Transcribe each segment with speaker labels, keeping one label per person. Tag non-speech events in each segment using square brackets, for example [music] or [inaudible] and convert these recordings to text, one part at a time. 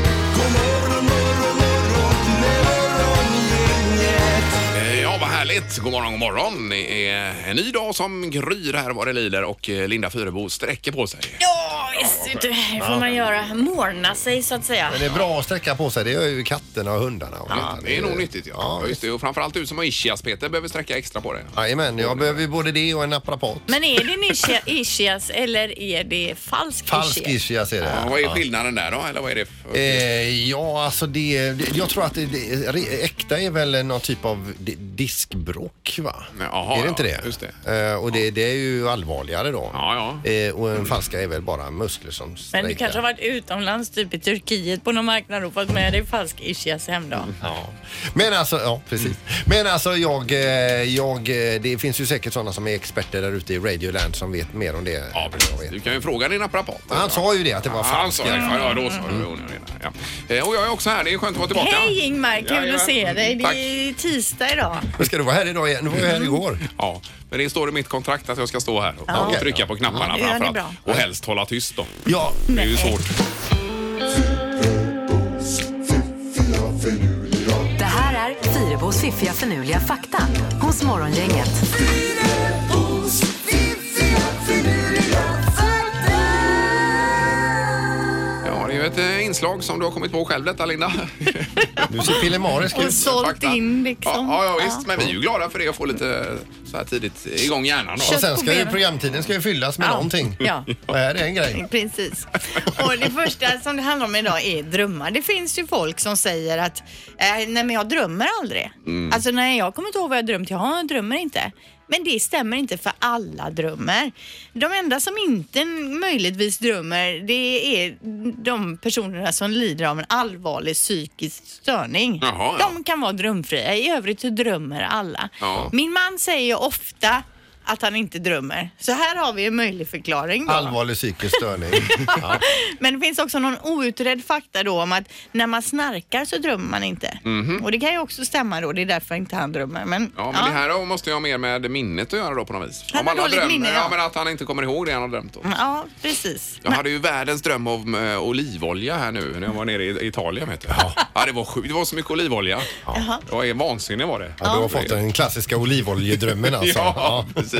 Speaker 1: Eh, Inget. God morgon, god morgon. Det är en ny dag som gryr här vad det lider och eh, Linda Fyrebo sträcker på sig.
Speaker 2: Ja, visst. Det får man göra. Morna sig så att säga.
Speaker 3: Men det är bra att sträcka på sig. Det gör ju katterna och hundarna. Och
Speaker 1: Ja,
Speaker 3: utan
Speaker 1: det är nog nyttigt. Ja. Ja,
Speaker 3: Ja,
Speaker 1: just det. Och framförallt du som har ischias Peter behöver sträcka extra på det.
Speaker 3: Jajamän, jag behöver ju både det och en naprapat.
Speaker 2: Men är det nischia- ischias eller är det falsk,
Speaker 3: Falsk
Speaker 2: ischias?
Speaker 3: ischias är det.
Speaker 1: Ja, vad är skillnaden där då? Eller vad är det? För...
Speaker 3: Eh, ja, alltså det, det- jag tror att det, det, re- äkta är väl någon typ av di- diskbråck va?
Speaker 1: Nej, aha,
Speaker 3: är det inte
Speaker 1: ja,
Speaker 3: det?
Speaker 1: just
Speaker 3: Eh, och det, det är ju allvarligare då.
Speaker 1: Ja, ja.
Speaker 3: Eh, och en falska är väl bara muskler som
Speaker 2: Men du
Speaker 3: strejkar.
Speaker 2: kanske har varit utomlands, typ i Turkiet på någon marknad och fått med dig falsk ischias hem då?
Speaker 1: Mm.
Speaker 3: Ja. Men alltså, ja precis. Men alltså jag, eh, jag, eh, det finns ju säkert sådana som är experter där ute i Radioland som vet mer om det.
Speaker 1: Ja,
Speaker 3: än vad jag
Speaker 1: precis.
Speaker 3: vet.
Speaker 1: Du kan ju fråga din naprapat.
Speaker 3: Han sa ju det att det
Speaker 1: Ja,
Speaker 3: var
Speaker 1: han sa
Speaker 3: falskt.
Speaker 1: det. Ja, ja, då sa du det. Jo, nu är det. Ja. Eh, Och jag är också här. Det är skönt att vara tillbaka.
Speaker 2: Hej Ingmar, kul
Speaker 1: Jajamän.
Speaker 2: att se dig.
Speaker 1: Mm,
Speaker 2: Det
Speaker 1: Tack.
Speaker 2: är tisdag idag.
Speaker 3: Men ska du vara här idag igen? Du var ju här igår.
Speaker 1: Ja, men det står i mitt kontrakt att jag ska stå här och och trycka på knapparna
Speaker 2: Ja, det gör ni
Speaker 1: framförallt.
Speaker 2: bra.
Speaker 1: Och helst hålla tyst då.
Speaker 3: Ja.
Speaker 1: Det är ju
Speaker 2: Nej.
Speaker 1: svårt.
Speaker 4: Det här är Fyrabos fiffiga förnuliga fakta hos Morgongänget.
Speaker 1: Ja, det är ju ett eh, inslag som du har kommit på själv detta Linda.
Speaker 2: [laughs]
Speaker 3: Du ser pillemarisk
Speaker 2: Och
Speaker 3: ut.
Speaker 2: sålt
Speaker 1: Fakta.
Speaker 2: in liksom.
Speaker 1: Ja, ja, ja visst. Men vi är ju glada för det att få lite så här tidigt igång hjärnan.
Speaker 2: Kött
Speaker 3: Och
Speaker 1: Då.
Speaker 3: sen
Speaker 2: på
Speaker 3: ska ju
Speaker 2: benen.
Speaker 3: programtiden ska ju fyllas med
Speaker 2: Ja.
Speaker 3: någonting.
Speaker 2: Ja.
Speaker 3: Och här är en grej.
Speaker 2: [laughs] Precis. Och det första som det handlar om idag är drömmar. Det finns ju folk som säger att eh, nej men jag drömmer aldrig.
Speaker 1: Mm.
Speaker 2: Alltså nej jag kommer inte ihåg vad jag drömt. Jaha, jag drömmer inte. Men det stämmer inte för alla drömmer. De enda som inte möjligtvis drömmer det är de personerna som lider av en allvarlig psykisk störning.
Speaker 1: Jaha, ja.
Speaker 2: De kan vara drömfria. I övrigt så drömmer alla.
Speaker 1: Ja.
Speaker 2: Min man säger ju ofta att han inte drömmer. Så här har vi en möjlig förklaring. Då.
Speaker 3: Allvarlig psykisk störning. Ja.
Speaker 2: [laughs] Men det finns också någon outredd fakta då om att när man snarkar så drömmer man inte. Och det kan ju också stämma då, det är därför inte han drömmer. Men,
Speaker 1: Mhm. Ja, men det här måste jag ha mer med minnet att göra då på något vis.
Speaker 2: Han har
Speaker 1: alla
Speaker 2: dåligt
Speaker 1: drömmer-
Speaker 2: minne, ja. Mm.
Speaker 1: ja. men att han inte kommer ihåg det han har drömt om.
Speaker 2: Ja, precis.
Speaker 1: Jag hade ju världens dröm om eh, olivolja här nu när jag var nere i Italien. Vet du. Ja. det var sjukt. Det var så mycket olivolja. Ja. Det var vansinne var det.
Speaker 3: Ja, du har fått den klassiska olivoljedrömmen alltså.
Speaker 1: Ja, precis.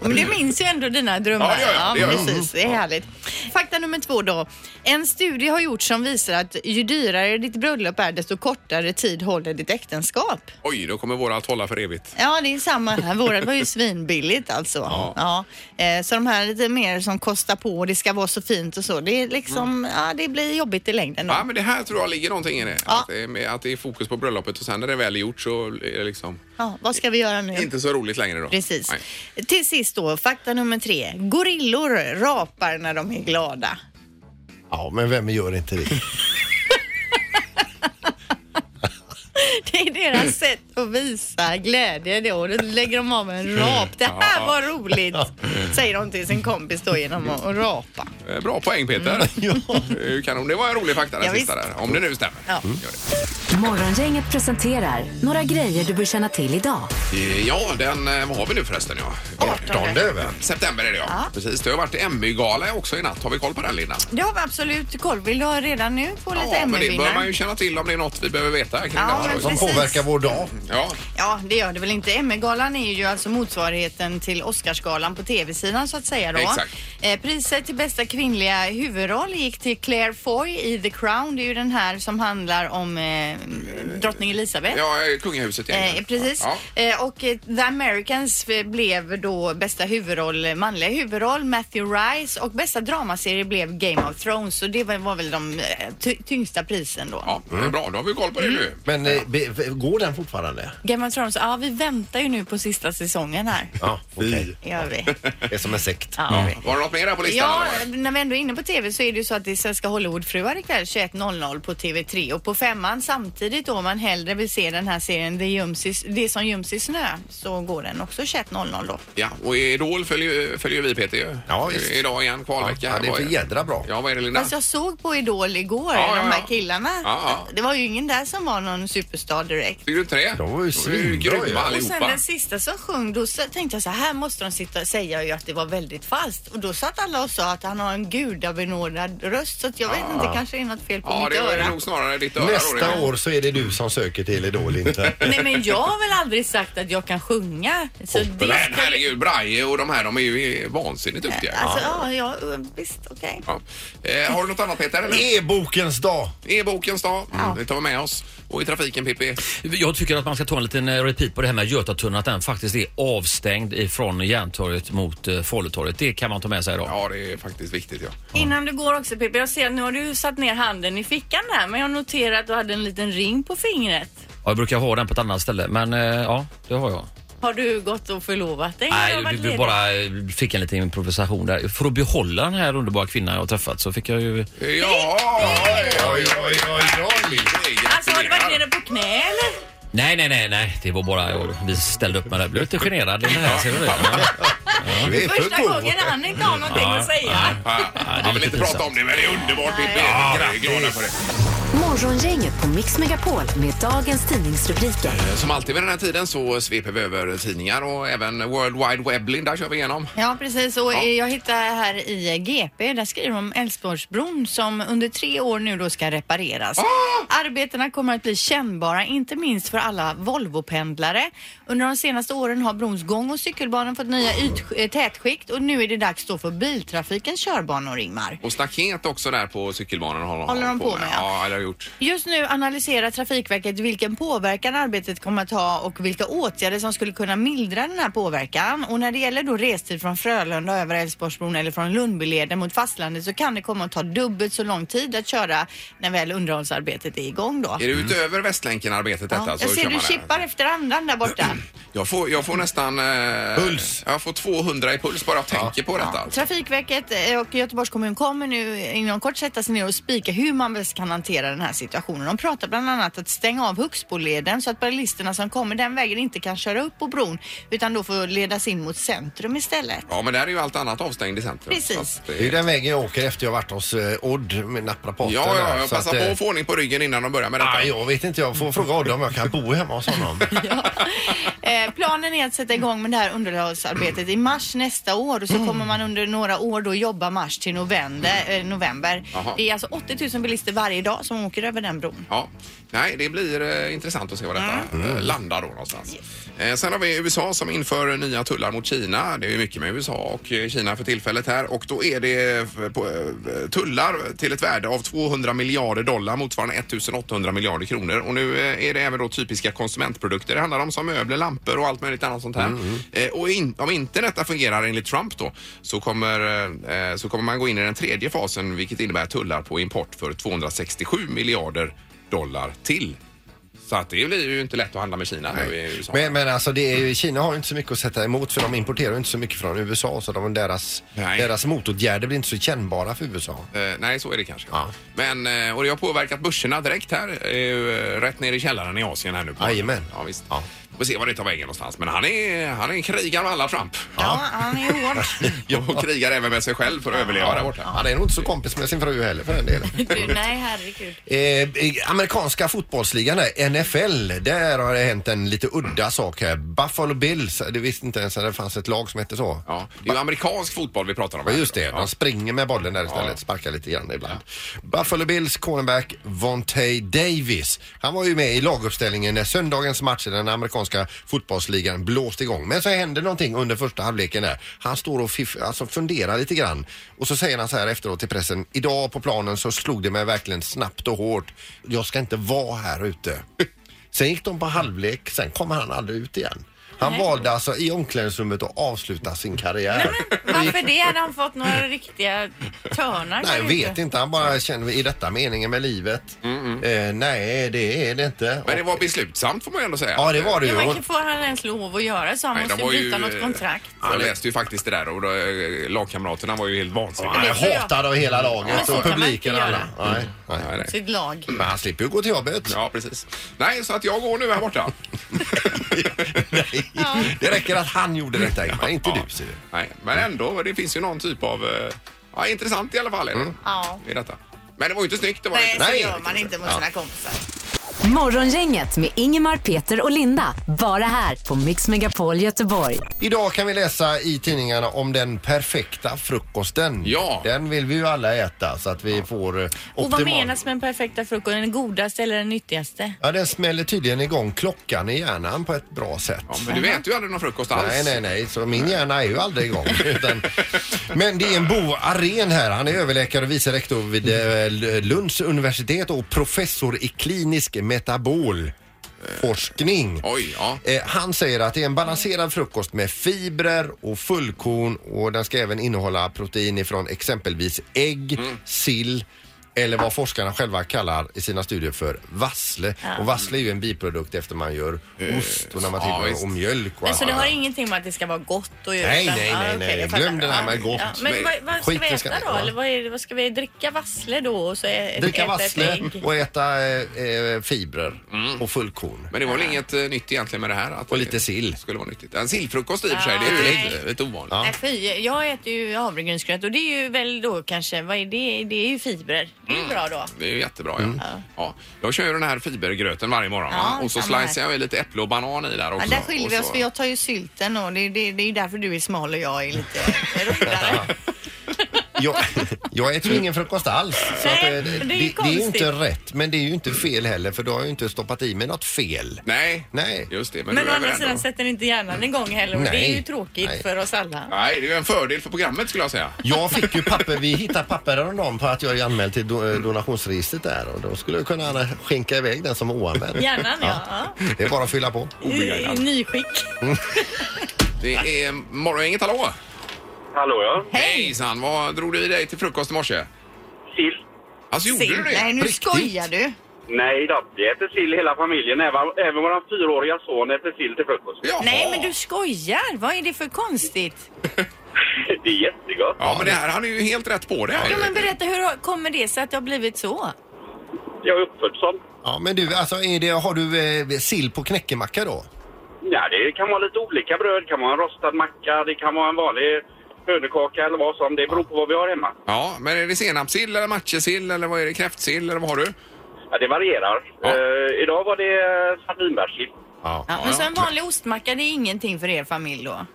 Speaker 2: Men du minns ju ändå dina drömmar.
Speaker 1: Ja, det gör jag. Det gör jag.
Speaker 2: precis. Det är härligt. Fakta nummer två då. En studie har gjorts som visar att ju dyrare ditt bröllop är desto kortare tid håller ditt äktenskap.
Speaker 1: Oj, då kommer våra att hålla för evigt.
Speaker 2: Ja, det är samma här. Vårat var ju svinbilligt alltså. Ja. Eh, Så de här lite mer som kostar på och det ska vara så fint och så. Det är liksom,
Speaker 1: Mm.
Speaker 2: ja det blir jobbigt i längden då.
Speaker 1: Ja, men det här tror jag ligger någonting i det.
Speaker 2: Ja.
Speaker 1: Att, det är med, att det är fokus på bröllopet och sen när det väl är gjort så är det liksom
Speaker 2: Ja, vad ska vi göra nu?
Speaker 1: inte så roligt längre då.
Speaker 2: Mm. Precis.
Speaker 1: Nej.
Speaker 2: Till sist då, fakta nummer tre. Gorillor rapar när de är glada. [laughs]
Speaker 3: Ja, men vem gör inte det?
Speaker 2: Det
Speaker 1: [clears throat]
Speaker 2: är deras sätt att visa glädje då. Då lägger de av en rap. Det här var roligt, säger de till sin kompis då genom att att rapa.
Speaker 1: Eh, Bra poäng Peter. Det är ju Kanon. Det var en rolig fakta den
Speaker 2: Ja,
Speaker 1: sista
Speaker 2: visst.
Speaker 1: där. Om det nu stämmer. Mm.
Speaker 2: Ja.
Speaker 1: Gör det.
Speaker 4: Morgongänget presenterar några grejer du bör känna till idag.
Speaker 1: Eh, Ja, den, eh, vad har vi nu förresten? Ja. Eh,
Speaker 3: 18 över.
Speaker 1: September är det ja. Precis, det har varit Emmy-gala också i natt. Har vi koll på den Linda?
Speaker 2: Det har vi absolut koll. Vill du ha redan nu få lite
Speaker 1: men det bör man ju
Speaker 2: Emmy-vinnare?
Speaker 1: känna till om det är något vi behöver veta kring
Speaker 2: Ja,
Speaker 1: ja,
Speaker 2: men
Speaker 1: det här.
Speaker 3: Som
Speaker 2: precis.
Speaker 3: påverkar vår dag.
Speaker 1: Ja,
Speaker 2: Ja, det gör det väl inte. Emmy-galan är ju alltså motsvarigheten till Oscarsgalan på tv-sidan så att säga då.
Speaker 1: Exakt.
Speaker 2: Eh, priset till bästa kvinnliga huvudroll gick till Claire Foy i The Crown. Det är ju den här som handlar om eh, drottning Elizabeth.
Speaker 1: ja eh, kungahuset i England.
Speaker 2: Eh, precis.
Speaker 1: Ja.
Speaker 2: Eh, och eh, The Americans eh, blev då bästa huvudroll, manliga huvudroll, Matthew Rice och bästa dramaserie blev Game of Thrones. Så det var, var väl de eh, ty- tyngsta prisen då.
Speaker 1: Ja, det är bra. Då har vi koll på det nu.
Speaker 3: Men eh, be, be, går den fortfarande?
Speaker 2: Game of Thrones, ja vi väntar ju nu på sista säsongen här.
Speaker 3: Ja, okej.
Speaker 2: Gör vi.
Speaker 1: [laughs]
Speaker 3: Det är som en sekt.
Speaker 2: Ja, vi.
Speaker 1: Var det något mer här på listan?
Speaker 2: Ja,
Speaker 1: eller var det?
Speaker 2: när vi ändå är inne på TV så är det ju så att det är Svenska Hollywoodfruar ikväll 21.00 på TV3 och på femman samtidigt då om man hellre vill se den här serien Det, Ljumsis, det som göms i snö så går den också 21.00 då.
Speaker 1: ja och Idol följer, följer vi Peter ju.
Speaker 3: Ja, visst.
Speaker 1: Idag igen, kvalvecka.
Speaker 3: Ja, det är
Speaker 1: Vad
Speaker 3: för jädra bra.
Speaker 1: Ja, vad är det Linda?
Speaker 2: Fast jag såg på Idol igår,
Speaker 1: Ja,
Speaker 2: de
Speaker 1: ja,
Speaker 2: här
Speaker 1: ja.
Speaker 2: killarna.
Speaker 1: Ja, ja.
Speaker 2: Det var ju ingen där som var någon superstar direkt.
Speaker 1: Tycker du inte det?
Speaker 3: De var ju
Speaker 1: Det är ju
Speaker 3: svinbra ju.
Speaker 1: grymma
Speaker 2: Och sen
Speaker 1: allihopa.
Speaker 2: den sista som sjöng, då så- tänkte jag så här måste de sitta, säga ju att det var väldigt falskt. Och då satt alla och sa att han har en gudabenådad röst så att jag vet inte, kanske är något fel på
Speaker 1: Ah. Ja,
Speaker 2: mitt
Speaker 1: det är
Speaker 2: öra.
Speaker 1: nog snarare ditt öra. då,
Speaker 3: Nästa
Speaker 1: Roger.
Speaker 3: år så är det du som söker till
Speaker 1: [laughs]
Speaker 3: Idol inte.
Speaker 2: Nej men jag har väl aldrig sagt att jag kan sjunga. Så det
Speaker 1: Men
Speaker 2: skulle-
Speaker 1: herregud, Braje och de här, de är ju vansinnigt duktiga.
Speaker 2: Alltså ja, ja visst okej.
Speaker 1: Ja. Eh, har du något annat Peter? eller?
Speaker 2: Mm.
Speaker 3: E-bokens dag.
Speaker 1: E-bokens dag, mm, det tar vi med oss. Och i trafiken Pippi?
Speaker 5: Jag tycker att man ska ta en liten eh, repeat på det här med Götatunneln, att den faktiskt är avstängd ifrån Järntorget mot eh, Falutorget. Det kan man ta med sig idag.
Speaker 1: Ja, det är faktiskt viktigt ja.
Speaker 2: Innan du går också Pippi, jag ser att nu har du satt ner handen i fickan där men jag noterar att du hade en liten ring på fingret.
Speaker 5: Ja, jag brukar ha den på ett annat ställe, men eh, ja, det har jag.
Speaker 2: Har du gått och förlovat dig? Har du
Speaker 5: Nej,
Speaker 2: varit
Speaker 5: vi, vi
Speaker 2: ledig?
Speaker 5: bara eh, fick en liten improvisation där. För att behålla den här underbara kvinnan jag har träffat så fick jag ju...
Speaker 1: Ja, oj, oj, oj, oj, oj.
Speaker 2: Alltså har du varit nere på knä eller?
Speaker 5: Nej, nej, nej, nej. Det var bara... Vi ställde upp med det. Jag blev lite generad. Det här, ser du det?
Speaker 3: Du är för
Speaker 2: Första
Speaker 3: god.
Speaker 2: gången han inte har någonting
Speaker 5: Ja,
Speaker 2: att säga.
Speaker 1: Han vill inte prata om det, men det är underbart Pippi.
Speaker 2: Ja,
Speaker 1: Jag är glad för det.
Speaker 4: Morgongänget på Mix Megapol med dagens tidningsrubriker.
Speaker 1: Eh, Som alltid vid den här tiden så sveper vi över tidningar och även World Wide Web. Linda kör vi igenom.
Speaker 2: Ja, precis. Och eh, Jag hittade här i GP, där skriver de om Älvsborgsbron som under tre år nu då ska repareras. Arbetena kommer att bli kännbara, inte minst för alla Volvopendlare. Under de senaste åren har brons gång och cykelbanan fått nya yt- eh, tätskikt och nu är det dags då för biltrafikens körbanor, Ingmar.
Speaker 1: Och staket också där på cykelbanan håller,
Speaker 2: Håller de på med, ja.
Speaker 1: Ja, det har gjort.
Speaker 2: Just nu analyserar Trafikverket vilken påverkan arbetet kommer att ha och vilka åtgärder som skulle kunna mildra den här påverkan. Och när det gäller då restid från Frölunda över Älvsborgsbron eller från Lundbyleden mot fastlandet så kan det komma att ta dubbelt så lång tid att köra när väl underhållsarbetet är igång då.
Speaker 1: Är det utöver Västlänken-arbetet detta?
Speaker 2: Ja,
Speaker 1: så
Speaker 2: jag ser
Speaker 1: kör
Speaker 2: du
Speaker 1: man det.
Speaker 2: chippar efter andan där borta.
Speaker 1: Jag får, jag får nästan... Eh,
Speaker 3: Puls.
Speaker 1: Jag får 200 i puls bara jag tänker på detta. alltså.
Speaker 2: Trafikverket eh, och Göteborgs kommun kommer nu inom kort sätta sig ner och spika hur man bäst kan hantera den här situationen. De pratar bland annat att stänga av Huxboleden så att bilisterna som kommer den vägen inte kan köra upp på bron utan då får ledas in mot centrum istället.
Speaker 1: Ja, men där är ju allt annat avstängt i centrum.
Speaker 2: Precis.
Speaker 1: Så att det-
Speaker 3: Det är den vägen jag åker efter jag varit hos eh, Odd med naprapaten.
Speaker 1: Ja, ja,
Speaker 3: där,
Speaker 1: jag
Speaker 3: så
Speaker 1: passar
Speaker 3: att,
Speaker 1: på
Speaker 3: eh,
Speaker 1: att få ordning på ryggen innan de börjar med detta.
Speaker 3: Ja, jag vet inte, jag får fråga Odd om jag kan bo hemma
Speaker 1: [laughs]
Speaker 3: hos honom.
Speaker 2: Eh, planen är att sätta igång med det här underhållsarbetet i mars nästa år och så kommer man under några år då jobba mars till november. Eh, november.
Speaker 1: Jaha.
Speaker 2: Det är alltså 80 000 bilister varje dag som åker över den bron.
Speaker 1: Ja. Nej, det blir eh, intressant att se var detta eh, landar då någonstans. Eh, sen har vi USA som inför nya tullar mot Kina. Det är ju mycket med USA och eh, Kina för tillfället här och då är det eh, på, eh, tullar till ett värde av 200 miljarder dollar motsvarande 1800 miljarder kronor och nu eh, är det även då typiska konsumentprodukter det handlar om som möbler, lampor och allt möjligt annat sånt här. Eh, och in, om inte detta fungerar enligt Trump då så kommer, eh, så kommer man gå in i den tredje fasen vilket innebär tullar på import för 267 miljarder dollar till. Så att det blir ju inte lätt att handla med Kina nu i USA.
Speaker 3: Men, men alltså det är ju, Kina har ju inte så mycket att sätta emot för de importerar ju inte så mycket från USA så de, deras,
Speaker 1: Nej.
Speaker 3: deras motåtgärder blir inte så kännbara för USA.
Speaker 1: Eh, nej, så är det kanske.
Speaker 3: Ja.
Speaker 1: Men, eh, och det har påverkat börserna direkt här. Eh, rätt ner i källaren i Asien här nu. på-
Speaker 3: Jajamän.
Speaker 1: Ja, visst.
Speaker 3: Ja.
Speaker 1: Vi får se var det tar vägen någonstans. Men han är, han är en krigare med alla Trump.
Speaker 2: Ja, han är hård.
Speaker 1: Och krigar även med sig själv för att överleva där borta.
Speaker 3: Han är nog inte så kompis med sin fru heller för
Speaker 2: [laughs]
Speaker 3: den delen.
Speaker 2: Du, nej, herregud.
Speaker 3: Eh, eh, amerikanska fotbollsligan eh, där, NFL, där har det hänt en lite udda sak här. Buffalo Bills, det visste inte ens att det fanns ett lag som hette så.
Speaker 1: Ja, det är ju amerikansk fotboll vi pratar om.
Speaker 3: Ja,
Speaker 1: här.
Speaker 3: just det. Alltså- De springer med bollen där istället, sparkar lite grann ibland. Buffalo Bills cornerback Vontae Davis. Han var ju med i laguppställningen när söndagens match i den amerikanska fotbollsligan blåste igång. Men så händer någonting under första halvleken där. Han står och fiff, alltså funderar lite grann och så säger han så här efteråt till pressen. Idag på planen så slog det mig verkligen snabbt och hårt. Jag ska inte vara här ute. [laughs] Sen gick de på halvlek, sen kom han aldrig ut igen. Han valde alltså i omklädningsrummet att avsluta sin karriär.
Speaker 2: Varför det? Hade han fått några riktiga törnar?
Speaker 3: Nej, jag vet inte. Han bara känner, i detta meningen med livet?
Speaker 2: Mm,
Speaker 3: Eh, nej, det är det inte.
Speaker 1: Men det var beslutsamt får man ju ändå säga.
Speaker 3: Ja, det var det
Speaker 2: Ja,
Speaker 3: ju. Och-
Speaker 2: men får han ens lov att göra så? Han
Speaker 1: Nej, de
Speaker 2: måste
Speaker 1: var
Speaker 2: ju bryta
Speaker 1: ju,
Speaker 2: något kontrakt.
Speaker 1: Jag läste ju faktiskt det där och då, eh, lagkamraterna var ju helt vansinniga.
Speaker 3: Han är
Speaker 2: det tror jag.
Speaker 3: hatad av hela
Speaker 2: Men
Speaker 3: laget
Speaker 2: så
Speaker 3: och
Speaker 2: kan man
Speaker 3: publiken och
Speaker 2: inte
Speaker 3: alla.
Speaker 2: göra.
Speaker 3: Nej, nej.
Speaker 1: Nej, nej.
Speaker 2: Sitt lag.
Speaker 3: Men han slipper ju gå till jobbet.
Speaker 1: Ja, precis. Nej, så att jag går nu här borta.
Speaker 3: Nej. [laughs] Det räcker att han gjorde detta, Ingmar. [laughs] Inte
Speaker 1: Ja.
Speaker 3: du, Mm. ser du.
Speaker 1: Nej, men ändå, det finns ju någon typ av... eh, Ja,
Speaker 3: Mm.
Speaker 1: intressant i alla fall är det.
Speaker 2: Ja.
Speaker 1: I detta. Men det var ju inte snyggt. Det var det
Speaker 2: Nej,
Speaker 1: inte.
Speaker 2: så
Speaker 3: Nej,
Speaker 2: gör man inte mot sina kompisar.
Speaker 4: Morgongänget med Ingemar, Peter och Linda. Bara här på Mix Megapol Göteborg.
Speaker 3: Idag kan vi läsa i tidningarna om den perfekta frukosten.
Speaker 1: Ja.
Speaker 3: Den vill vi ju alla äta så att vi får eh,
Speaker 2: Och vad
Speaker 3: optimal-
Speaker 2: menas med den perfekta frukosten? Den godaste eller den nyttigaste?
Speaker 3: Ja, den smäller tydligen igång klockan i hjärnan på ett bra sätt.
Speaker 1: Ja, men du äter ju aldrig någon frukost alls.
Speaker 3: Nej, nej, nej, så min hjärna är ju aldrig igång. [laughs] Utan, men det är en Bo Arén här. Han är överläkare och vice rektor vid eh, Lunds universitet och professor i klinisk metabolforskning.
Speaker 1: Oj, ja.
Speaker 3: Eh, Han säger att det är en balanserad frukost med fibrer och fullkorn och den ska även innehålla protein ifrån exempelvis ägg,
Speaker 1: Mm.
Speaker 3: sill eller vad forskarna själva kallar i sina studier för vassle. Och vassle är ju en biprodukt efter man gör ost och när man
Speaker 1: Eh, ja,
Speaker 3: tillverkar
Speaker 1: visst.
Speaker 3: och mjölk och
Speaker 2: Men så
Speaker 3: allt
Speaker 2: Alltså, det har
Speaker 3: annat.
Speaker 2: ingenting med att det ska vara gott och göra?
Speaker 3: Nej,
Speaker 2: utan-
Speaker 3: nej,
Speaker 2: Ah,
Speaker 3: nej,
Speaker 2: okej,
Speaker 3: nej.
Speaker 2: jag fattar.
Speaker 3: Glöm det där med
Speaker 2: Ja,
Speaker 3: gott.
Speaker 2: ja. Men vad, vad ska vi
Speaker 3: Skiten ska
Speaker 2: äta
Speaker 3: ner,
Speaker 2: då?
Speaker 3: va?
Speaker 2: Eller vad, är, det- vad ska vi dricka vassle då och så ä,
Speaker 3: Dricka
Speaker 2: äta ett
Speaker 3: vassle
Speaker 2: ägg? Mm.
Speaker 3: och äta eh, eh, fibrer och fullkorn.
Speaker 1: Men det var väl inget eh, nytt egentligen med det här? Att
Speaker 3: Och
Speaker 1: det
Speaker 3: lite sill.
Speaker 1: Skulle vara nyttigt. En sillfrukost i och för sig, det
Speaker 2: Ja,
Speaker 1: är ju
Speaker 2: nej.
Speaker 1: lite, lite ovanligt.
Speaker 2: Nej, fy, jag äter ju havregrynsgröt och det är ju väl då kanske, vad är det? Det är ju fibrer. Det är
Speaker 3: Mm.
Speaker 2: ju bra då.
Speaker 1: Det är ju jättebra. Ja. Ja. Jag kör ju den här fibergröten varje morgon va?
Speaker 2: Ja,
Speaker 1: och så
Speaker 2: samma här.
Speaker 1: slicear jag i lite äpple och banan i där
Speaker 2: Ja,
Speaker 1: också.
Speaker 2: där skiljer vi
Speaker 1: Och
Speaker 2: oss
Speaker 1: så-
Speaker 2: för jag tar ju sylten och det, det, det är ju därför du är smal och jag
Speaker 1: [laughs]
Speaker 2: är lite rundare.
Speaker 3: Jag, [laughs] jag äter ju ingen frukost alls. Så
Speaker 2: Nej,
Speaker 3: att, eh,
Speaker 2: men det är ju
Speaker 3: det är ju
Speaker 2: konstigt.
Speaker 3: inte rätt, men det är ju inte fel heller för då har jag ju inte stoppat i mig något fel.
Speaker 1: Nej,
Speaker 3: Nej.
Speaker 1: just det. Men,
Speaker 2: Men
Speaker 1: du
Speaker 2: å
Speaker 1: är
Speaker 2: andra
Speaker 1: väl
Speaker 2: sidan
Speaker 1: ändå-
Speaker 2: sätter inte hjärnan igång heller och det är
Speaker 3: Nej.
Speaker 2: ju tråkigt
Speaker 3: Nej.
Speaker 2: för oss alla.
Speaker 1: Nej, det är ju en fördel för programmet skulle jag säga.
Speaker 3: Jag fick ju papper, vi hittade papper häromdagen på att jag är anmäld till do, eh, donationsregistret där och då skulle jag kunna skänka iväg den som är oanmäld.
Speaker 2: Hjärnan ja.
Speaker 3: Det är bara att fylla på.
Speaker 2: ja. I,
Speaker 1: Obegagnad.
Speaker 2: nyskick.
Speaker 1: Mm. Det är morgongänget, hallå!
Speaker 6: Hallå ja.
Speaker 1: Hejsan, vad drog du i dig till frukost i morse?
Speaker 6: Sill.
Speaker 1: Alltså gjorde du det?
Speaker 2: Nej, nu
Speaker 3: Riktigt?
Speaker 2: skojar du.
Speaker 6: Nej då, vi äter sill hela familjen. Även, även vår fyraåriga son äter sill till frukost. [laughs]
Speaker 1: Jaha.
Speaker 2: Nej, men du skojar. Vad är det för konstigt?
Speaker 6: Det är jättegott.
Speaker 1: Ja, men det här, han är ju helt rätt på det här.
Speaker 2: Ja,
Speaker 1: ju.
Speaker 2: men berätta, hur har- kommer det sig att det har blivit så?
Speaker 6: Jag är uppfödd som.
Speaker 3: Ja, men du, alltså, är det, har du eh, sill på knäckemacka då?
Speaker 6: Ja, det kan vara lite olika bröd. Det kan vara en rostad macka, det kan vara en vanlig hönökaka eller vad som. Det beror på vad vi har hemma.
Speaker 1: Ja, men är det senapssill eller matjessill eller vad är det? Kräftsill eller vad har du?
Speaker 6: Ja, det varierar.
Speaker 1: Ja.
Speaker 6: Eh, idag var det eh, sardinbärssill.
Speaker 2: Ja, men så en vanlig ostmacka, det är ingenting för er familj då?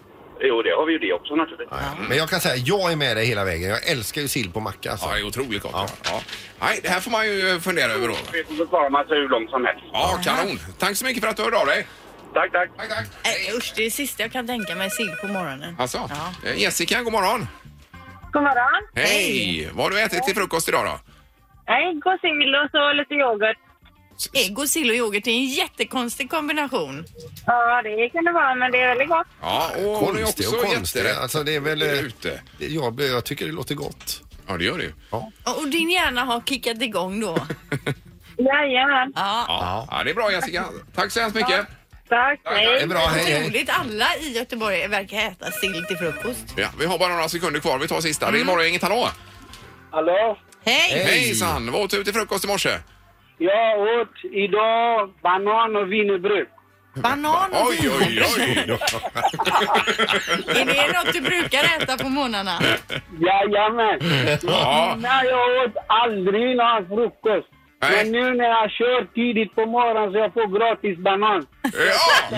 Speaker 6: Jo, det har vi ju det också naturligtvis.
Speaker 3: Men jag kan säga, jag är med dig hela vägen. Jag älskar ju sill på macka. Alltså.
Speaker 1: Ja, det är otroligt gott. Ja. Ja. Nej, det här får man ju fundera över då.
Speaker 6: Det får vara man sig hur långt som helst.
Speaker 1: Ja, kanon. Tack så mycket för att du hörde av dig.
Speaker 6: Tack, tack.
Speaker 1: Tack, tack.
Speaker 2: Äh, usch, det är det sista jag kan tänka mig, sill på morgonen.
Speaker 1: Alltså,
Speaker 2: Ja.
Speaker 1: eh, Jessica, god morgon.
Speaker 7: God morgon.
Speaker 1: Hej! Vad har du ätit till frukost idag då?
Speaker 7: Ägg och sill och så lite yoghurt.
Speaker 2: Ägg och sill och yoghurt det är en jättekonstig kombination.
Speaker 7: Ja, det kan det vara, men det är väldigt gott.
Speaker 1: Ja, och hon är
Speaker 3: Konstigt
Speaker 1: också
Speaker 3: och konstigt.
Speaker 1: jätterätt
Speaker 3: Alltså, det är väl... eh,
Speaker 1: ute.
Speaker 3: Jag, blir- jag tycker det låter gott.
Speaker 1: Ja, det gör det ju.
Speaker 2: Och, och din hjärna har kickat igång då?
Speaker 7: Jajamän.
Speaker 2: Ja.
Speaker 1: Ja. ja, det är bra Jessica. Tack så hemskt mycket.
Speaker 7: Tack,
Speaker 3: Det är
Speaker 7: hej.
Speaker 3: bra, hej, hej.
Speaker 2: Otroligt, alla i Göteborg verkar äta sill till frukost.
Speaker 1: Ja, vi har bara några sekunder kvar. Vi tar sista. Det är morgongänget. Hallå!
Speaker 8: Hallå?
Speaker 2: Hej!
Speaker 3: Hej.
Speaker 1: Hejsan! Vad åt du till frukost i morse?
Speaker 8: Jag åt idag banan och wienerbröd.
Speaker 2: Banan och
Speaker 1: Oj, oj, oj!
Speaker 2: Är det något du brukar äta på morgnarna?
Speaker 8: Jajamän.
Speaker 1: Ja,
Speaker 8: Nej, jag åt aldrig någon frukost.
Speaker 1: Nej.
Speaker 8: Men nu när jag kör tidigt på morgonen så jag får gratis banan.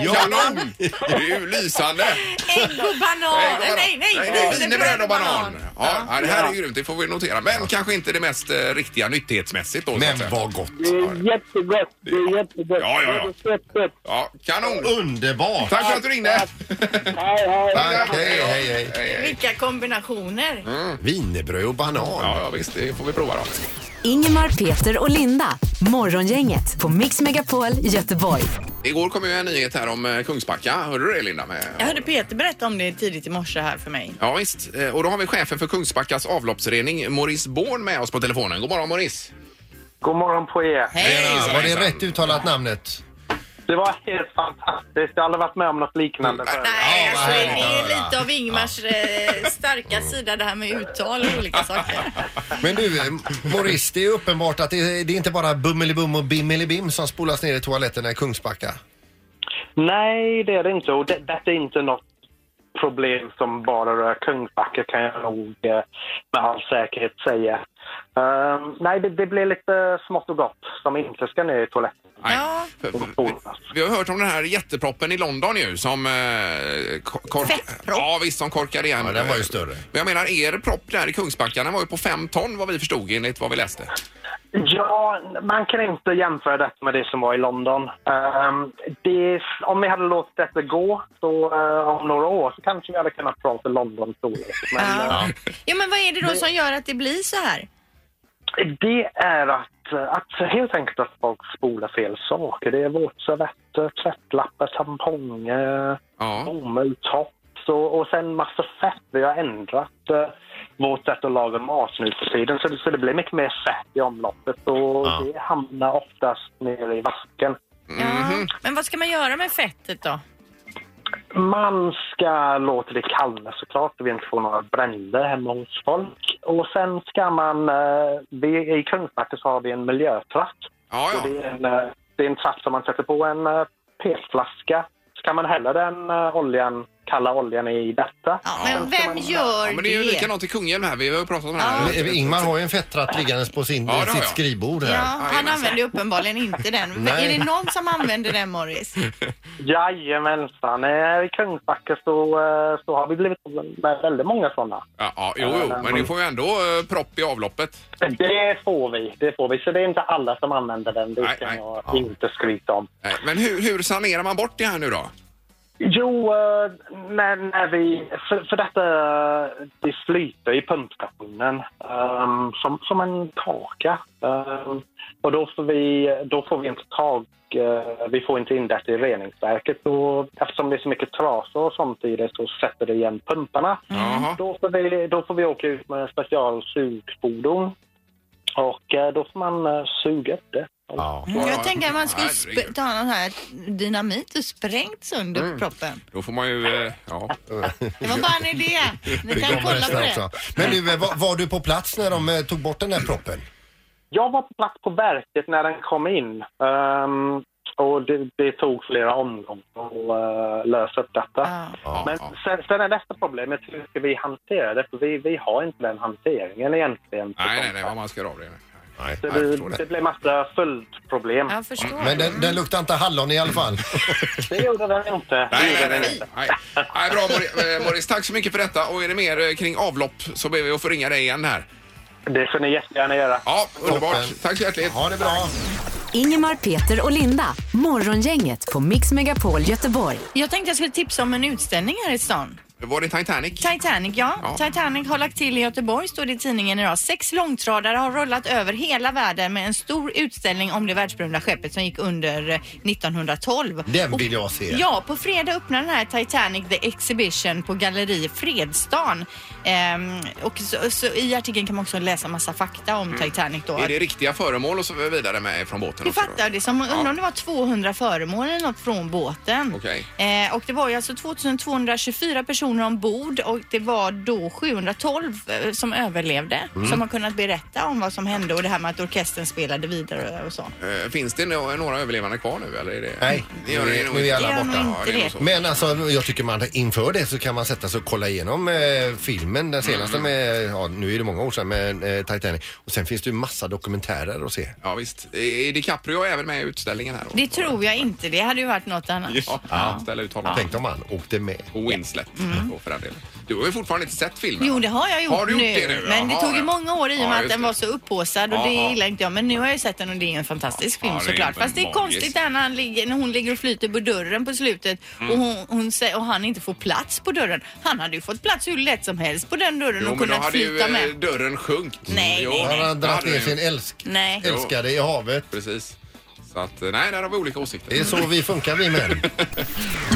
Speaker 1: ja kanon! Det är ju lysande!
Speaker 2: Ägg och banan!
Speaker 1: och
Speaker 2: Nej, nej!
Speaker 1: banan.
Speaker 2: nej,
Speaker 1: Wienerbröd och banan. Ja, ja, det här är grymt. Det får vi notera. Men kanske inte det mest eh, riktiga nyttighetsmässigt då. så att säga.
Speaker 3: Men vad gott!
Speaker 8: Det är jättegott. Det är jättegott.
Speaker 1: Ja, ja, ja.
Speaker 8: Det är fett gott.
Speaker 1: Ja, kanon!
Speaker 3: Underbart!
Speaker 1: Tack för att du ringde!
Speaker 8: Hej, hej.
Speaker 3: Tack, hej, hej, hej.
Speaker 2: Vilka kombinationer!
Speaker 3: Wienerbröd och banan.
Speaker 1: Ja, ja, visst. Det får vi prova då.
Speaker 4: Ingemar, Peter och Linda. Morgongänget på Mix Megapol Göteborg.
Speaker 1: Igår kom ju en nyhet här om eh, Kungsbacka. Hörde du det Linda? Med...
Speaker 2: Jag hörde Peter berätta om det tidigt i morse här för mig.
Speaker 1: Ja, visst. Eh, Och då har vi chefen för Kungsbackas avloppsrening, Maurice Born med oss på telefonen. God morgon Maurice!
Speaker 8: God morgon på er.
Speaker 1: Hejsan,
Speaker 3: Ja, var det
Speaker 1: hejsan.
Speaker 3: rätt uttalat namnet?
Speaker 8: Det var helt fantastiskt. Jag har aldrig varit med om något liknande förut.
Speaker 2: Nej,
Speaker 3: Ja, vad
Speaker 2: alltså,
Speaker 3: härligt
Speaker 2: det
Speaker 3: att
Speaker 2: är
Speaker 3: höra.
Speaker 2: lite av Ingmars eh, starka sida det här med uttal och olika saker.
Speaker 3: Men du, eh, Maurice, det är uppenbart att det är, det är inte bara bummelibum och bimmelibim som spolas ner i toaletterna i Kungsbacka.
Speaker 8: Nej, det är det inte. Och det, det är inte något problem som bara rör Kungsbacka kan jag nog eh, med all säkerhet säga.
Speaker 9: Ehm, nej, det, det blir lite smått och gott som inte ska ner i toaletten.
Speaker 1: Nej.
Speaker 2: Ja.
Speaker 1: För- för- Vi har hört om den här jätteproppen i London ju som... Eh, ko- kork...
Speaker 2: Fettpropp.
Speaker 1: Ja visst, som korkade igen.
Speaker 3: Ja, den var ju större.
Speaker 1: Men jag menar er propp där i Kungsbacka, den var ju på fem ton vad vi förstod enligt vad vi läste.
Speaker 9: Ja, man kan inte jämföra detta med det som var i London. Ehm, det, om vi hade låtit detta gå så eh, om några år så kanske vi hade kunnat prata Londons storlek. Men eh,
Speaker 2: Ja. ja, men vad är det då som gör att det blir så här?
Speaker 9: det är att, eh, att helt enkelt att folk spolar fel saker. Det är våtservetter, tvättlappar, tamponger.
Speaker 1: Ja.
Speaker 9: bomullshops och, och sen massa fett. Vi har ändrat eh, vårt sätt att laga mat nu för tiden så, det- så det blir mycket mer fett i omloppet och
Speaker 3: Ja.
Speaker 9: det hamnar oftast nere i vasken.
Speaker 1: Mhm.
Speaker 2: Ja. Men vad ska man göra med fettet då?
Speaker 9: Man ska låta det kallna såklart så vi inte får några bränder hemma hos folk. Och sen ska man... Eh, vi, I Kungsbacka så har vi en miljötratt.
Speaker 1: Ja,
Speaker 9: Och
Speaker 1: ja.
Speaker 9: Det, är en, eh, det är en tratt som man sätter på en eh, petflaska. Så kan man hälla den eh, oljan, kalla oljan i detta.
Speaker 2: Ja, men vem
Speaker 1: ja
Speaker 2: gör
Speaker 1: men det är ju
Speaker 2: det?
Speaker 1: likadant i Kungälv här, vi har ju pratat om det här.
Speaker 3: Men eh, Ingmar har ju en fettratt liggandes på sin,
Speaker 1: Ja, det har
Speaker 3: sitt
Speaker 1: jag.
Speaker 3: skrivbord
Speaker 2: Ja,
Speaker 3: här.
Speaker 2: han använder ju uppenbarligen
Speaker 1: [laughs]
Speaker 2: inte den. Men
Speaker 3: Nej.
Speaker 2: är det någon som använder den, Morris?
Speaker 9: Jajamensan. Eh, I Kungsbacka så, eh, så har vi blivit av med väldigt många sådana.
Speaker 1: Ja, ja, jo, jo, men ni får ju ändå eh, propp i avloppet.
Speaker 9: Det får vi. Det får vi. Så det är inte alla som använder den. Det
Speaker 1: Nej,
Speaker 9: kan
Speaker 1: nej.
Speaker 9: jag
Speaker 1: Ja.
Speaker 9: inte skryta om.
Speaker 1: Nej, Eh, Men hur, hur sanerar man bort det här nu då?
Speaker 9: Jo, eh, när, när vi... För, för detta eh, det flyter i pumpstationen ehm, som, som en kaka. Ehm, och då får vi, då får vi inte tag... eh, vi får inte in detta i reningsverket. Och eftersom det är så mycket trasor och sånt i det så sätter det igen pumparna.
Speaker 1: Jaha.
Speaker 9: Då får, vi, då får vi åka ut med specialsugfordon och eh, då får man eh, suga upp
Speaker 3: Ja.
Speaker 9: det.
Speaker 2: Mm,
Speaker 1: Ja, ja.
Speaker 2: Jag tänker att man skulle
Speaker 1: Herregud. Mm.
Speaker 2: sp- ta någon här dynamit och sprängt sönder proppen.
Speaker 1: Då får man ju... eh, Ja.
Speaker 2: Det var bara en idé.
Speaker 1: [laughs]
Speaker 2: Ni kan kolla på det.
Speaker 3: Också. Men du, eh, var, var du på plats när de eh, tog bort den här proppen?
Speaker 9: Jag var på plats på verket när den kom in ehm, och det, det tog flera omgångar att eh, lösa upp detta.
Speaker 2: Ja.
Speaker 9: Men sen, sen är nästa problemet hur ska vi hantera det? För vi, vi har inte den hanteringen egentligen.
Speaker 1: Nej, nej, nej, vad man ska göra av det. Nej.
Speaker 3: Nej.
Speaker 9: Så
Speaker 1: jag
Speaker 9: det,
Speaker 1: förstår det.
Speaker 9: det blir massa följdproblem.
Speaker 2: Jag förstår.
Speaker 3: Men den, den luktar inte hallon i alla fall. [laughs]
Speaker 9: Det gjorde den inte. Det
Speaker 1: Nej, nej,
Speaker 9: gjorde den
Speaker 1: nej,
Speaker 9: inte.
Speaker 1: nej. nej. nej bra Mor- eh, Morris, tack så mycket för detta. Och är det mer eh, kring avlopp så ber vi att få ringa dig igen här.
Speaker 9: Det får ni jättegärna göra.
Speaker 1: Ja, underbart.
Speaker 3: Toppen.
Speaker 1: Tack så hjärtligt.
Speaker 3: Ha det bra.
Speaker 4: Ingemar, Peter och Linda. Morgongänget på Mix Megapol Göteborg.
Speaker 2: Jag tänkte jag skulle tipsa om en utställning här i stan.
Speaker 1: Var det Titanic?
Speaker 2: Titanic, ja.
Speaker 1: Ja.
Speaker 2: Titanic har lagt till i Göteborg, står det i tidningen idag. Sex långtradare har rullat över hela världen med en stor utställning om det världsberömda skeppet som gick under eh, 1912.
Speaker 3: Den
Speaker 2: Och-
Speaker 3: vill jag se.
Speaker 2: Ja, på fredag öppnar den här Titanic The Exhibition på Galleri Fredstan. Ehm, och så, så I artikeln kan man också läsa massa fakta om Titanic då.
Speaker 1: Är det riktiga föremål och så vidare med från båten?
Speaker 2: Du
Speaker 1: också då?
Speaker 2: fattar, det är som undrar om det var 200 föremål eller något från båten.
Speaker 1: Okej.
Speaker 2: Eh, och det var ju alltså 2224 personer ombord och det var då 712 eh, som överlevde
Speaker 1: Mm.
Speaker 2: som har kunnat berätta om vad som hände och det här med att orkestern spelade vidare och så.
Speaker 1: Eh, Finns det nå- några överlevande kvar nu eller? Är det...
Speaker 3: Nej,
Speaker 1: det gör det
Speaker 3: nu-
Speaker 1: nog
Speaker 3: nu är
Speaker 1: inte.
Speaker 3: alla Det gör
Speaker 2: borta. nog inte
Speaker 1: Ja, det är nog
Speaker 2: det.
Speaker 1: så.
Speaker 3: Men alltså, jag tycker man inför det så kan man sätta sig och kolla igenom eh, filmen, den senaste
Speaker 1: Mm.
Speaker 3: med, ja nu är det många år sedan, med eh, Titanic. Och sen finns det ju massa dokumentärer att se.
Speaker 1: Ja, visst. Eh, Är DiCaprio även med i utställningen här? då?
Speaker 2: Det tror jag inte, det hade ju varit något annat.
Speaker 1: Ja, ja. ställa ut honom.
Speaker 3: Tänk om han åkte med.
Speaker 1: Och Winslet då, för den delen. Du har ju fortfarande inte sett filmen.
Speaker 2: Mm. Jo,
Speaker 1: va?
Speaker 2: det har jag gjort,
Speaker 1: Har du gjort
Speaker 2: nu.
Speaker 1: det nu?
Speaker 2: Men det
Speaker 1: Jaha,
Speaker 2: tog ju
Speaker 1: ja.
Speaker 2: många år i och
Speaker 1: Ja,
Speaker 2: med att
Speaker 1: just
Speaker 2: den
Speaker 1: det.
Speaker 2: var så upphåsad och
Speaker 1: Ja,
Speaker 2: det
Speaker 1: ja.
Speaker 2: gillar inte jag. Men nu har jag ju sett den och det är en fantastisk
Speaker 1: Ja,
Speaker 2: film
Speaker 1: det är
Speaker 2: såklart.
Speaker 1: väl
Speaker 2: Fast det är
Speaker 1: magiskt.
Speaker 2: konstigt där när han ligger, när hon ligger och flyter på dörren på slutet och,
Speaker 1: Mm.
Speaker 2: hon, hon, sä- och han inte får plats på dörren. Han hade ju fått plats hur lätt som helst på den dörren
Speaker 1: Jo,
Speaker 2: och
Speaker 1: men då
Speaker 2: kunnat
Speaker 1: hade ju
Speaker 2: flyta
Speaker 1: eh,
Speaker 2: med.
Speaker 1: dörren sjunkit.
Speaker 2: Nej,
Speaker 1: Jo,
Speaker 2: nej,
Speaker 3: Han
Speaker 2: nej.
Speaker 3: har
Speaker 1: det
Speaker 3: dragit
Speaker 1: hade
Speaker 3: ner
Speaker 1: den ju.
Speaker 3: sin älsk,
Speaker 2: Nej.
Speaker 3: älskade i havet.
Speaker 1: Precis. Så att, eh, nej, där har vi olika åsikter.
Speaker 3: Det är så vi funkar
Speaker 1: [laughs]
Speaker 3: vi män.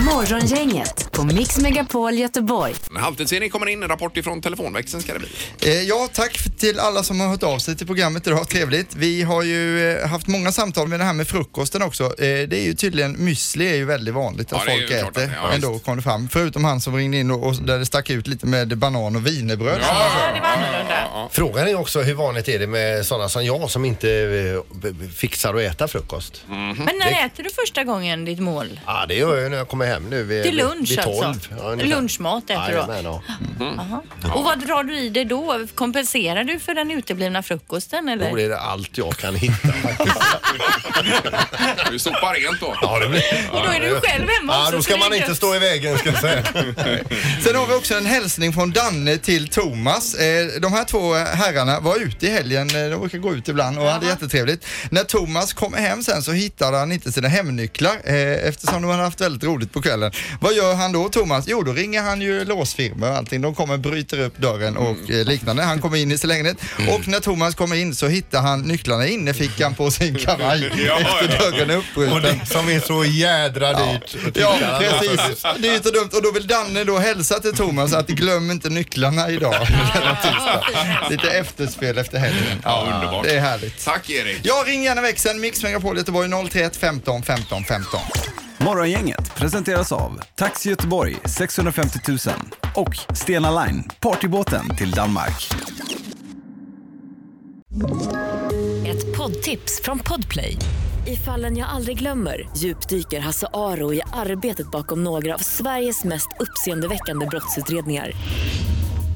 Speaker 4: Morgongänget på Mix Megapol Göteborg.
Speaker 1: Halvtids-Erik kommer in, en rapport ifrån telefonväxeln ska det bli.
Speaker 10: Eh, Ja, tack f- till alla som har hört av sig till programmet idag. Trevligt. Vi har ju eh, haft många samtal med det här med frukosten också. Eh, Det är ju tydligen, müsli är ju väldigt vanligt
Speaker 1: Ja,
Speaker 10: att
Speaker 1: det är
Speaker 10: folk
Speaker 1: ju klart att
Speaker 10: äter.
Speaker 1: det är, ja,
Speaker 10: ändå kom det fram. Förutom han som ringde in och, och där det stack ut lite med banan och wienerbröd.
Speaker 2: Ja, det var annorlunda.
Speaker 3: Frågan är också hur vanligt är det med sådana som jag som inte eh, b- b- fixar att äta frukost? frukost.
Speaker 1: Mm.
Speaker 2: Men när
Speaker 3: Det-
Speaker 2: äter du första gången ditt mål?
Speaker 3: Ja, det gör jag när jag kommer hem nu vid,
Speaker 2: Till lunch
Speaker 3: vid tolv.
Speaker 2: alltså?
Speaker 3: Ja, ungefär.
Speaker 2: Lunchmat äter du
Speaker 3: Jajamän,
Speaker 2: då?
Speaker 3: ja.
Speaker 2: Aha. Och vad drar du i dig då? Kompenserar du för den uteblivna frukosten eller?
Speaker 3: Jo, det är allt jag kan hitta.
Speaker 1: Du sopar rent då.
Speaker 3: Ja, det blir...
Speaker 2: Och då är du själv hemma
Speaker 3: Ja,
Speaker 2: också,
Speaker 3: då
Speaker 2: så
Speaker 3: ska
Speaker 2: det är
Speaker 3: man inte
Speaker 2: gött.
Speaker 3: stå i vägen ska jag säga.
Speaker 10: Sen har vi också en hälsning från Danne till Thomas. Eh, De här två herrarna var ute i helgen, eh, de brukar gå ut ibland och hade jättetrevligt. När Thomas kom hem sen så hittade han inte sina hemnycklar eh, eftersom de hade haft väldigt roligt på kvällen. Vad gör han då Thomas? Jo, då ringer han ju låsfirmor och allting. De kommer, bryter upp dörren och
Speaker 3: Mm.
Speaker 10: eh, liknande. Han kommer in i sin lägenhet och när Thomas kommer in så hittar han nycklarna i innefickan på sin
Speaker 3: [laughs]
Speaker 10: kavaj
Speaker 1: Ja,
Speaker 10: efter
Speaker 1: ja.
Speaker 10: dörren är
Speaker 3: Och
Speaker 10: uppbruten.
Speaker 3: det som är så jädra dyrt.
Speaker 10: Ja, precis. Dyrt och dumt. Och då vill Danne då hälsa till Thomas att glöm inte nycklarna idag. Denna tisdag. Lite efterspel efter helgen.
Speaker 1: Ja, underbart.
Speaker 10: Det är härligt.
Speaker 1: Tack Erik.
Speaker 10: Ja, ring gärna växeln Mix Megapol Göteborg 031 15 15 15.
Speaker 11: Morgongänget presenteras av Taxi Göteborg 650 000 och Stena Line, partybåten till Danmark.
Speaker 12: Ett poddtips från Podplay. I fallen jag aldrig glömmer djupdyker Hasse Aro i arbetet bakom några av Sveriges mest uppseendeväckande brottsutredningar.